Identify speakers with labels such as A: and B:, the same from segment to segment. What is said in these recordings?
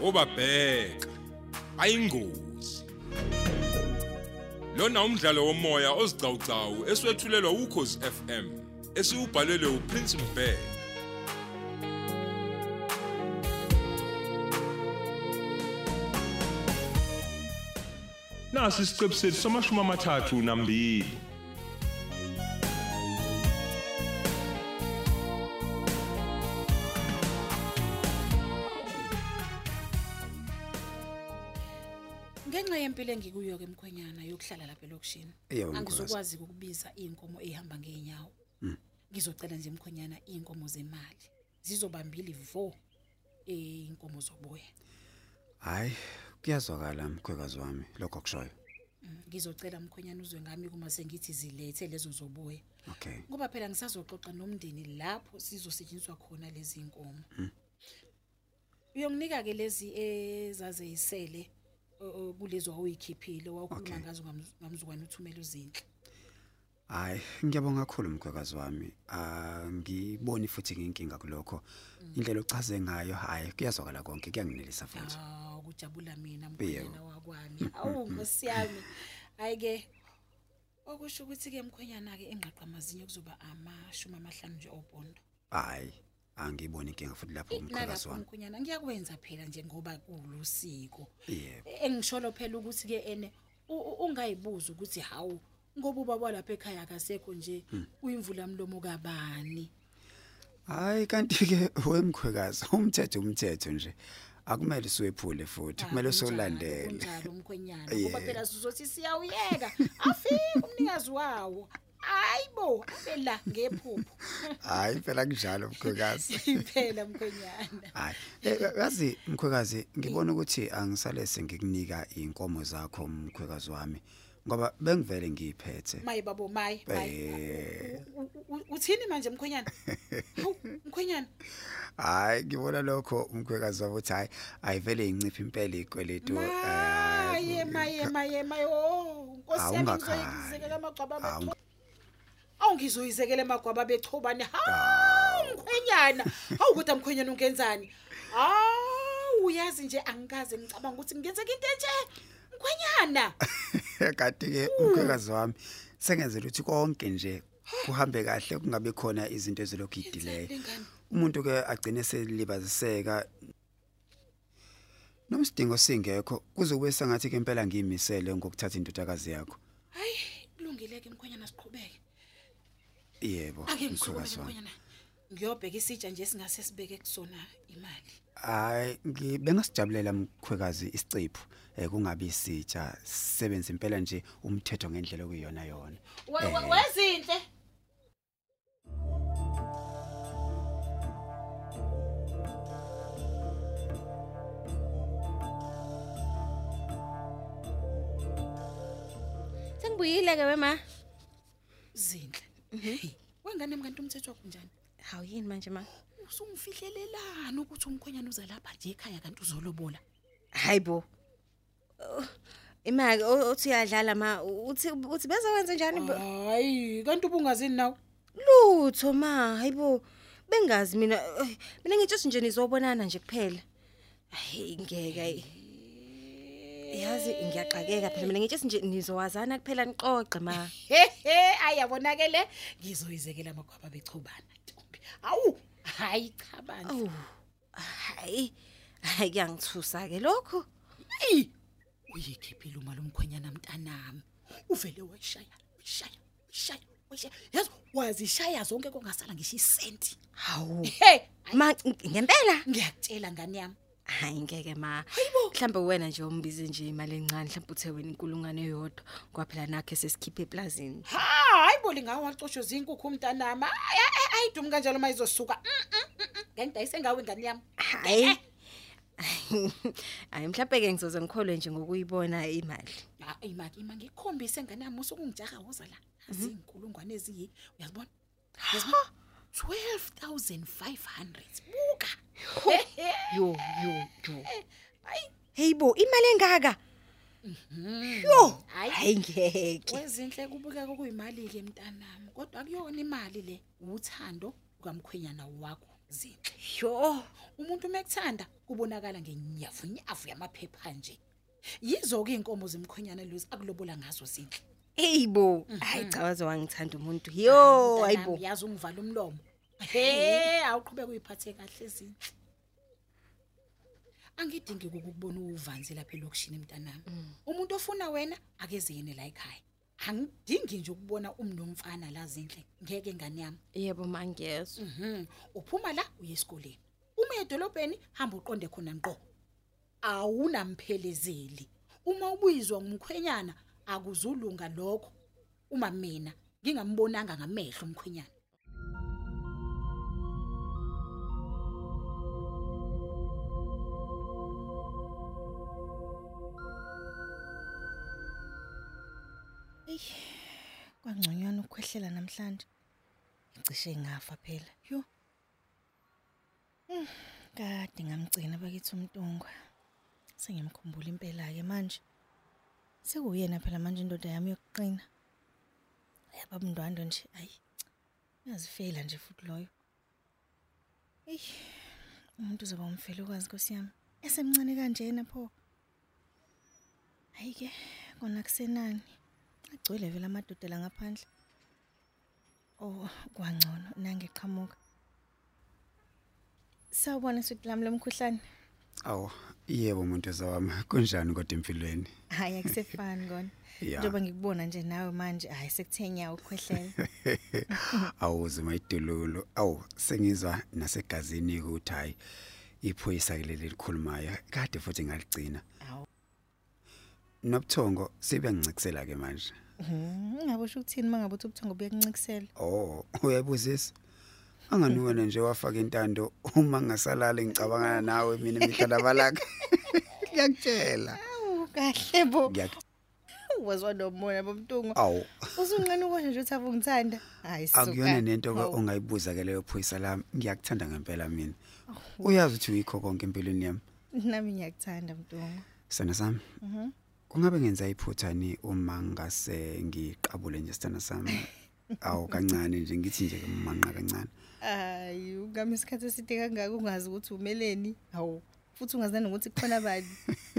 A: ubabheka ayingozi lona umdlalo womoya ozicawucawu eswetshulelwa ukhozi FM esiubhalelwe uPrince Mbhe Nasi isiqebu sethu samashumi amathathu nambili
B: Ngenxa yempilo engikuyo ke mkhwenyana yokuhlala lapha elokishini.
C: Eyo, Nkosikazi.
B: Angizokwazi ukubiza inkomo ehamba ngeenyawo. Ngizocela nje mkhwenyana inkomo zemali. Zizobambili vo eh inkomo zoboya.
C: hayi kuyazwakala mkhwekazi wami lokho akushoyo
B: Ngizocela mkhwenyana uzwe ngami kuma sengithi zilethe lezo zoboya.
C: okay
B: Ngoba phela ngisazoxoxa nomndeni lapho sizosetshenziswa khona lezi inkomo. Uyonginika ke lezi ezaze isele o- o- kulezo awuyikhiphile wawukhuluma
C: Okay.
B: ngazo ngamz- ngamzukwane uthumela uzinhle.
C: hayi ngiyabonga kakhulu mkhwekazi wami angiboni futhi nginkinga kulokho indlela ochaze ngayo hayi kuyazwakala konke kuyanginelisa futhi
B: Ah kujabula mina
C: Yebo.
B: mkhwenyana wakwami. Awu ngosiyami. Hayike okusho ukuthi ke mkhwenyana ke engqaqamazinyo kuzoba amashumi amahlanu nje obhondo.
C: hayi angiboni inkinga futhi lapho mkhwekazi
B: Nalapho
C: wami
B: mkhwenyana ngiyakwenza phela nje ngoba kulusiko.
C: yebo
B: engisholo phela ukuthi ke ene u- u- ungayibuza ukuthi hawu ngoba ubaba lapha ekhaya akasekho nje uyimvula mlomo kabani
C: hayi kanti-ke wemkhwekazi umthetho umthetho nje akumele siwephule
B: Ah,
C: futhi kumele siwulandele
B: njalo umkhwenyana ngoba
C: Yeah.
B: phela sizothi siyawuyeka afike umnikazi wawo hayibo phela ngephupho
C: hayi phela kunjalo mkhwekazi
B: phela mkhwenyana
C: Hayi, eh, yazi mkhwekazi ngibona ukuthi angisale sengikunika inkomo zakho mkhwekazi wami ngoba bengivele ngiyiphethe.
B: maye babo maye maye
C: Eh.
B: U- u- u- uthini manje mkhwenyana hawu mkhwenyana
C: Hayi ngibona lokho mkhwekazi wami uthi hayi ayivele inciphe impela ikweletu.
B: maye maye maye maye oh nkosi yami
C: mm, Awungakhali.
B: ngizoyizekela amagwaba
C: Awu-
B: abacho awu ngizoyizekela amagwaba bechobane hawu mkhwenyana hawu kodwa mkhwenyana ungenzani hawu uyazi nje angikaze ngicabanga ukuthi ngenzeka into enje mkhwenyana
C: Kanti ke Eh, mkhwekazi wami sengenzela ukuthi konke nje kuhambe kahle kungabe khona izinto ezilokhu idileyo.
B: Lengane.
C: Umuntu ke agcine selibaziseka nomsidingo singekho kuzokuba sengathi ke impela ngiyimisele ngokuthatha indodakazi yakho.
B: hayi kulungile ke mkhwenyana siqhubeke
C: Yebo,
B: ake
C: mkhwekazi
B: ngisukule
C: wami.
B: mkhwenyana ngiyobheka isitsha nje esingase sibeke kusona imali
C: Hayi, ngi- bengasijabulela mkhwekazi isicephu eh kungabe isitsha sisebenza impela nje umthetho ngendlela okuyona yona.
B: Wa- wa- wezinhle
D: Sengibuyile ke wema.
B: zinhle wengane mkanti umthetho wakho njani
D: Hawu yini manje ma?
B: usungifihlelelana ukuthi umkhwenyana uza lapha nje ekhaya kanti uzolobola
D: Hayibo. Imaki o- othi uyadlala ma u- uthi uthi bezokwenza njani
B: Oh.
D: bo?
B: hayi kanti ubungazini nawe
D: Lutho ma, hayibo. Bengazi mina eh, mina ngitsho nje nizobonana nje kuphela. Hayi ngeke ayi. Yazi ngiyaxakeka phela mina ngitsho nje nizowazana kuphela niqoqe ma.
B: hehe hayi yabonakele ngizoyizekela amakhwaba bechubana ntombi awu hayi cha bandla
D: Awu. Hayi. Hayi kuyangithusa ke lokho.
B: eyi uyikhiphile uma lomkhwenyana mntanami uvele wayishaya wayishaya wayishaya wayishaya yazi wazishaya zonke kongasala ngisho isenti
D: Hawu.
B: hey
D: Ma ngempela?
B: ngiyakutshela ngane yami
D: hayi ngeke ma
B: Hayibo.
D: mhlawumbe wena nje umbize nje imali encane mhlawumbe uthe wena inkulungane eyodwa kwaphela nakhe sesikhiphe eplazini
B: hayi bo lingawo waxoshwa zinkukhu umntanami Ayi, ayi, ayi dumi kanjalo uma izosuka Mm, mm, mm, mm. ngangidayise ngawe ngane yami
D: hayi Eh? hayi mhlawumbe ke ngizoze ngikholwe nje ngokuyibona imali
B: Ah, imaki ima ngikhombise ngane yami usukungijahawoza la azinkulungwane eziyi uyazibona yazibona 12500 buka
D: yo yo yo hey bo imali engaka yo
B: Hayi.
D: Mhm. hayi ngeke
B: kwezinhle kubukeka kuyimali ke mntanami kodwa kuyona imali le uthando kamkhwenyana wakho zinhle
D: Yo,
B: umuntu umekuthanda kubonakala ngenyavu nyavu yamaphepha nje yizo ke inkomo zimkhonyana lezi akulobola ngazo zinhle
D: eyibo. Hayi cha waze wangithanda umuntu. Yo,
B: Mntanami,
D: Oh, hayibo.
B: yazi ungivala umlomo he awuqhubeka uyiphathe kahle zinhle angidingi ukukubona uvanzi lapha elokishini mntanami umuntu ofuna wena akeze yene la ekhaya angidingi nje ukubona umnomfana la zinhle ngeke ngane yami
D: Yebo mangiyezwa.
B: Mhm. Uphuma la uye esikoleni. Uma edolobheni hamba uqonde khona ngqo. Awunamphelezeli. Uma ubuyizwa ngumkhwenyana akuzulunga lokho. Uma mina ngingambonanga ngamehlo umkhwenyana.
E: Kwangconywana ukukhwehlela namhlanje. Ngicishe ngafa phela. Yo. Mm, Kade ngamgcina bakithi umntungwa. Sengiyamkhumbula impela ke manje. Sekuyena phela manje indoda yami yokuqina. Yaba mndwando nje ayi. Yazifela nje futhi loyo. Ey. Umuntu uzoba umfelo kwazi Nkosi yami. Esemncane kanjena pho. Hayi ke kona kusenani. Agcwele vele amadoda la ngaphandle. Oh, kwangcono nangeqhamuka. Sawubona sithi lami lomkhuhlane.
C: Awu, yebo umuntu ezawami, kunjani kodwa empilweni?
E: Hayi akusefani ngone.
C: Ya.
E: Njoba ngikubona nje nawe manje, hayi sekuthenya ukukhwehlela.
C: Awuze mayidululo. Awu, sengizwa nasegazini ukuthi hayi iphoyisa ke leli likhulumayo. Kade futhi ngaligcina.
E: Awu.
C: Nobuthongo sibe ngicikisela ke manje.
E: Ngabosho ukuthini mangabe uthi ubuthongo buyakunxikisela.
C: Oh, uyabuzisa. Anganiwena nje wafaka intando uma ngasalala ngicabangana nawe mina imihlala balaka. Ngiyakutshela.
E: Awu kahle bo.
C: Ngiyak
E: Wazwa nomona bomntungu.
C: Awu,
E: Usunqena ukwenza nje uthi avungithanda. Hayi suka.
C: Ah. akuyona nento ke
E: Hawu.
C: ongayibuza ke leyo phoyisa lami. Ngiyakuthanda ngempela mina. Uyazi ukuthi uyikho konke empilweni yami.
E: Nami ngiyakuthanda mntungu.
C: Sana sami. Mhm. Kungabe ngenza iphutha ni uma ngase ngiqabule nje sithana sami. Awu kancane nje ngithi nje kumanqa kancane.
E: Hayi, ungami isikhathi eside kangaka ungazi ukuthi umeleni. Hawu, futhi ungazi nokuthi kukhona bani.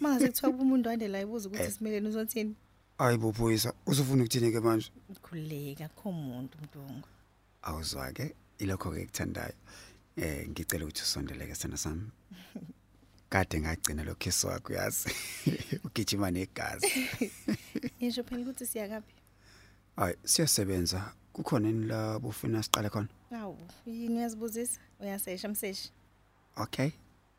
E: Mangase kuthiwa umuntu wande la ibuza ukuthi
C: Eh.
E: simeleni uzothini?
C: Hayi bophuyisa, usufuna ukuthini ke manje?
E: Khuleka, akho umuntu mntungu.
C: Awuzwa ke ilokho ke ekuthandayo. Eh ngicela ukuthi usondeleke sithana sami. Kade ngagcina lo kiss wakho yazi. Ugijima negazi.
E: Yisho phela ukuthi siya kapi?
C: Hayi siyasebenza. Kukhona ni la bufuna siqale khona.
E: Hawu, yini uyazibuzisa? Uyasesha mseshi.
C: Okay.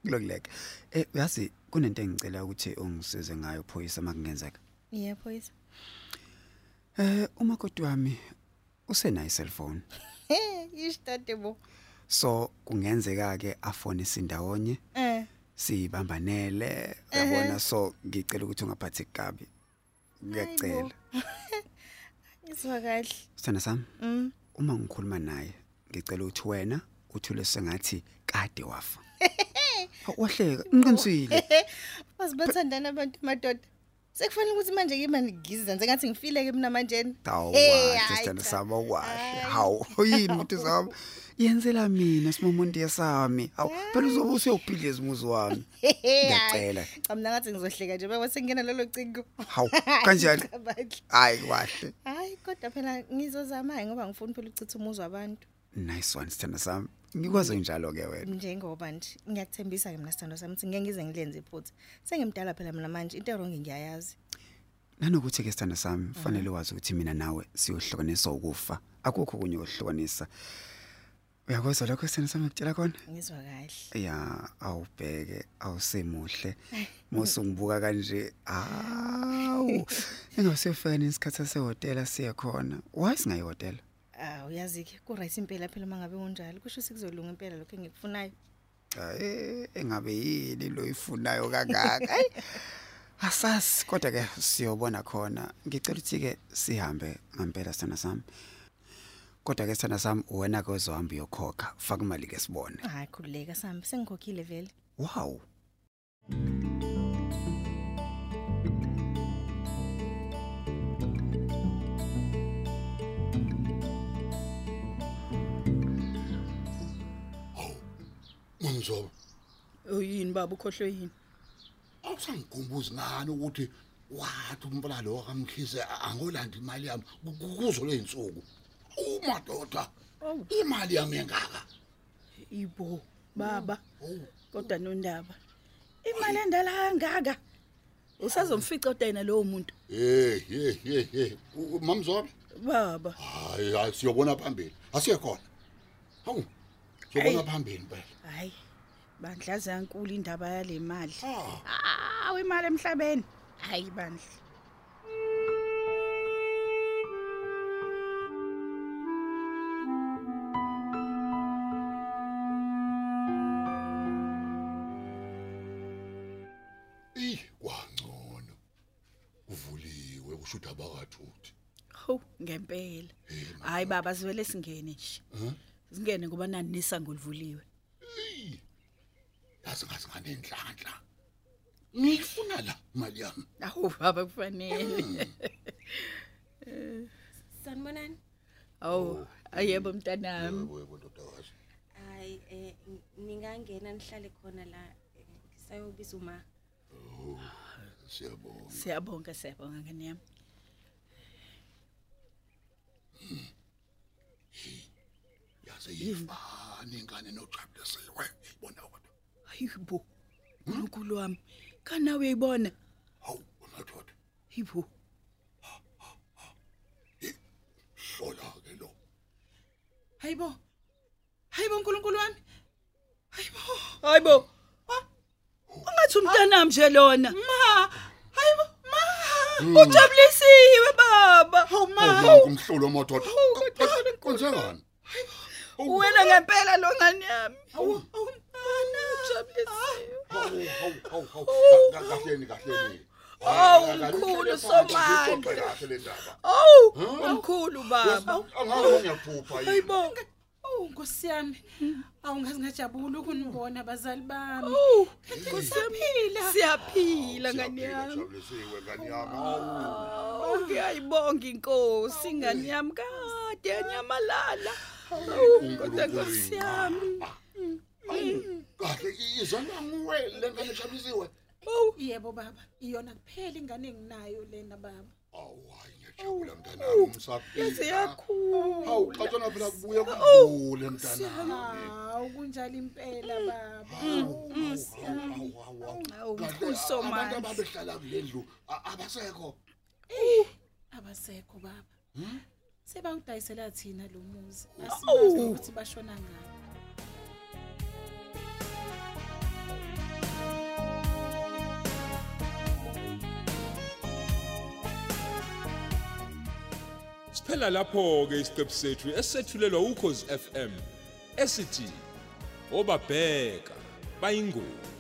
C: Kulokuleke. Eh uyazi kunento engicela ukuthi ungisize ngayo phoyisa makungenzeka.
E: Yepho yisa.
C: Eh uma kodwa wami usenayo cellphone.
E: Hey, yishtade bo.
C: So kungenzeka ke afone sindawonye
E: Eh,
C: sibambanele yabona so ngicela ukuthi ungaphathi kabi. Ngiyacela.
E: izwa kahle.
C: Sithanda sami
E: Mm.
C: uma ngikhuluma naye ngicela ukuthi wena uthule sengathi kade wafa. Hawu, Wahleka ngiqinisile.
E: Bazibathandana abantu madoda. Sekufanele ukuthi manje kimi ngigiziza sengathi ngifile ke mina manje.
C: Hawu
E: Hey,
C: wahle
E: hayi
C: sithanda
E: cha.
C: sami wahle. Hawu yini umuntu sami? Yenzela mina simomuntu yesami. Hawu phela uzobe usuyophila izimuzi wami. Ngiyacela.
E: Cha mina ngathi ngizohleka nje baba sengena lelo cingo.
C: Hawu kanjani?
E: Cabandla.
C: Hayi wahle.
E: Hayi kodwa phela ngizozama hayi ngoba ngifuna phela ukuchitha umuzwa abantu
C: Nice one sithanda sami. Ngikwazi njalo ke wena.
E: njengoba nje ngiyakuthembisa ke mina sithando sami ukuthi ngeke ngize ngilenze iphutha. Sengimdala phela mina manje into erongi ngiyayazi.
C: Nanokuthi ke sithanda sami fanele wazi ukuthi mina nawe siyohlukaniswa ukufa. Akukho kunye ukuhlukanisa. Uyakwazi lokho sithanda sami ngitshela khona?
E: Ngizwa kahle.
C: Ya, awubheke, awusemuhle. Mosungibuka kanje, awu. Engasefana isikhatha sehotela siye khona. Why singayi hotela?
E: Ah uyazi ke ku right impela phela mangabe unjalo kusho ukuthi kuzolunga impela lokho engikufunayo.
C: Eh, engabe yini lo ifunayo kangaka? Hayi. Asas kodwa ke siyobona khona. Ngicela ukuthi ke sihambe ngempela sithana sami. Kodwa ke sithana sami wena ke uzohamba uyokhokha, faka imali ke sibone.
E: Hayi khulileka sambe sengikhokhile vele.
C: Wow.
F: Nzoba,
G: oyini baba ukhohlwe Oh, yini
F: awusangikhumbuzi ngani ukuthi wathi umbulalo wakamkhize angolanda imali yami ku- ku- kuzo le nsuku. Umadoda, imali yami engaka.
G: ibo baba
F: Hawu,
G: kodwa nondaba imali endala kangaka usazomfica odayina lowo muntu
F: hey, hey, hey, hey. eh, U- u- Mamzoba,
G: baba
F: hayi hayi siyobona phambili. Asiye khona. Hawu. Siyobona phambili phela.
G: hayi bandlaza yankulu indaba yale mali
F: Ah.
G: awu imali emhlabeni hayi bandla
F: Eh, kwangcono. Kuvuliwe kushuda abakathuthi.
G: ho ngempela hayi baba siwele singene nje singene ngoba nani nesango livuliwe
F: Yazi ngathi nganenhlanhla. Ngifuna la imali yami.
G: awu baba kufanele
D: Sanibonani.
B: Oh,
G: awu ayebo mntanami
F: Yebo yebo ndodakazi.
D: Hayi eh ningangena nihlale khona la eh, ngisayobiza uma.
F: Siyabonga.
G: siyabonga siyabonga ngane yami
F: Yazi yifani ingane nojabulisiwe. Ibona kodwa.
G: ayibo unkulunkulu wami kana uyayibona
F: Hawu, umathoda.
G: yibo
F: Hlola ke lo.
B: hayibo hayibo nkulunkulu wami
G: hayibo
B: Ah,
G: ungathi umntanami nje lona
B: ma hayibo ma
G: ujabulisiwe baba
B: hawu ma
F: Awuku umhlulo umathoda.
G: kodwa
F: Konzekani?
G: uwena ngempela lo ngane yami
F: Hawu.
G: Hawu, mfana, ujabulisiwe
F: Hawu, hawu, hawu, hawu. Ka- ka- Kahleni, kahleni.
G: Hawu,
F: Hayi, akayi,
G: mkhulu
F: uhlele phansi,
G: Somandla.
F: sixoxe kahle le ndaba.
G: awu
F: Huh?
G: omkhulu baba
F: Angabe ngiyaphupha yini?
G: hayibo
B: awu Oh, nkosi yami Ah, awungaze ngajabula ukunibona bazali bami
G: awu
B: kusaphila
G: siyaphila
F: Siyaphila,
G: ngane yami
F: sijabulisiwe ngane yami. Hawu.
G: Awu, ngiyayibonga inkosi ngane yami kade yanyamalala kodwa
F: uNkulunkulu
G: nkosi yami
F: Kahle izana nguwe le ngane ejabulisiwe.
B: yebo baba iyona kuphela ingane enginayo lena baba
F: Awu, hayi ngiyajabula mntanami, ngisaphila.
G: siyakhula
F: Hawu, xatshana phela kubuye kubule mntanami.
B: hawu kunjalo Ah, impela baba
F: Mm.
G: Hawu, Mkhosi Somandla.
F: ababehlala kulendlu a- abasekho
B: abasekho baba sebawudayisela thina lo muzi asibazi ukuthi bashona ngani
A: Siphela lapho ke isiqephu sethu esethulelwa ukhozi FM esithi obabheka bayingoma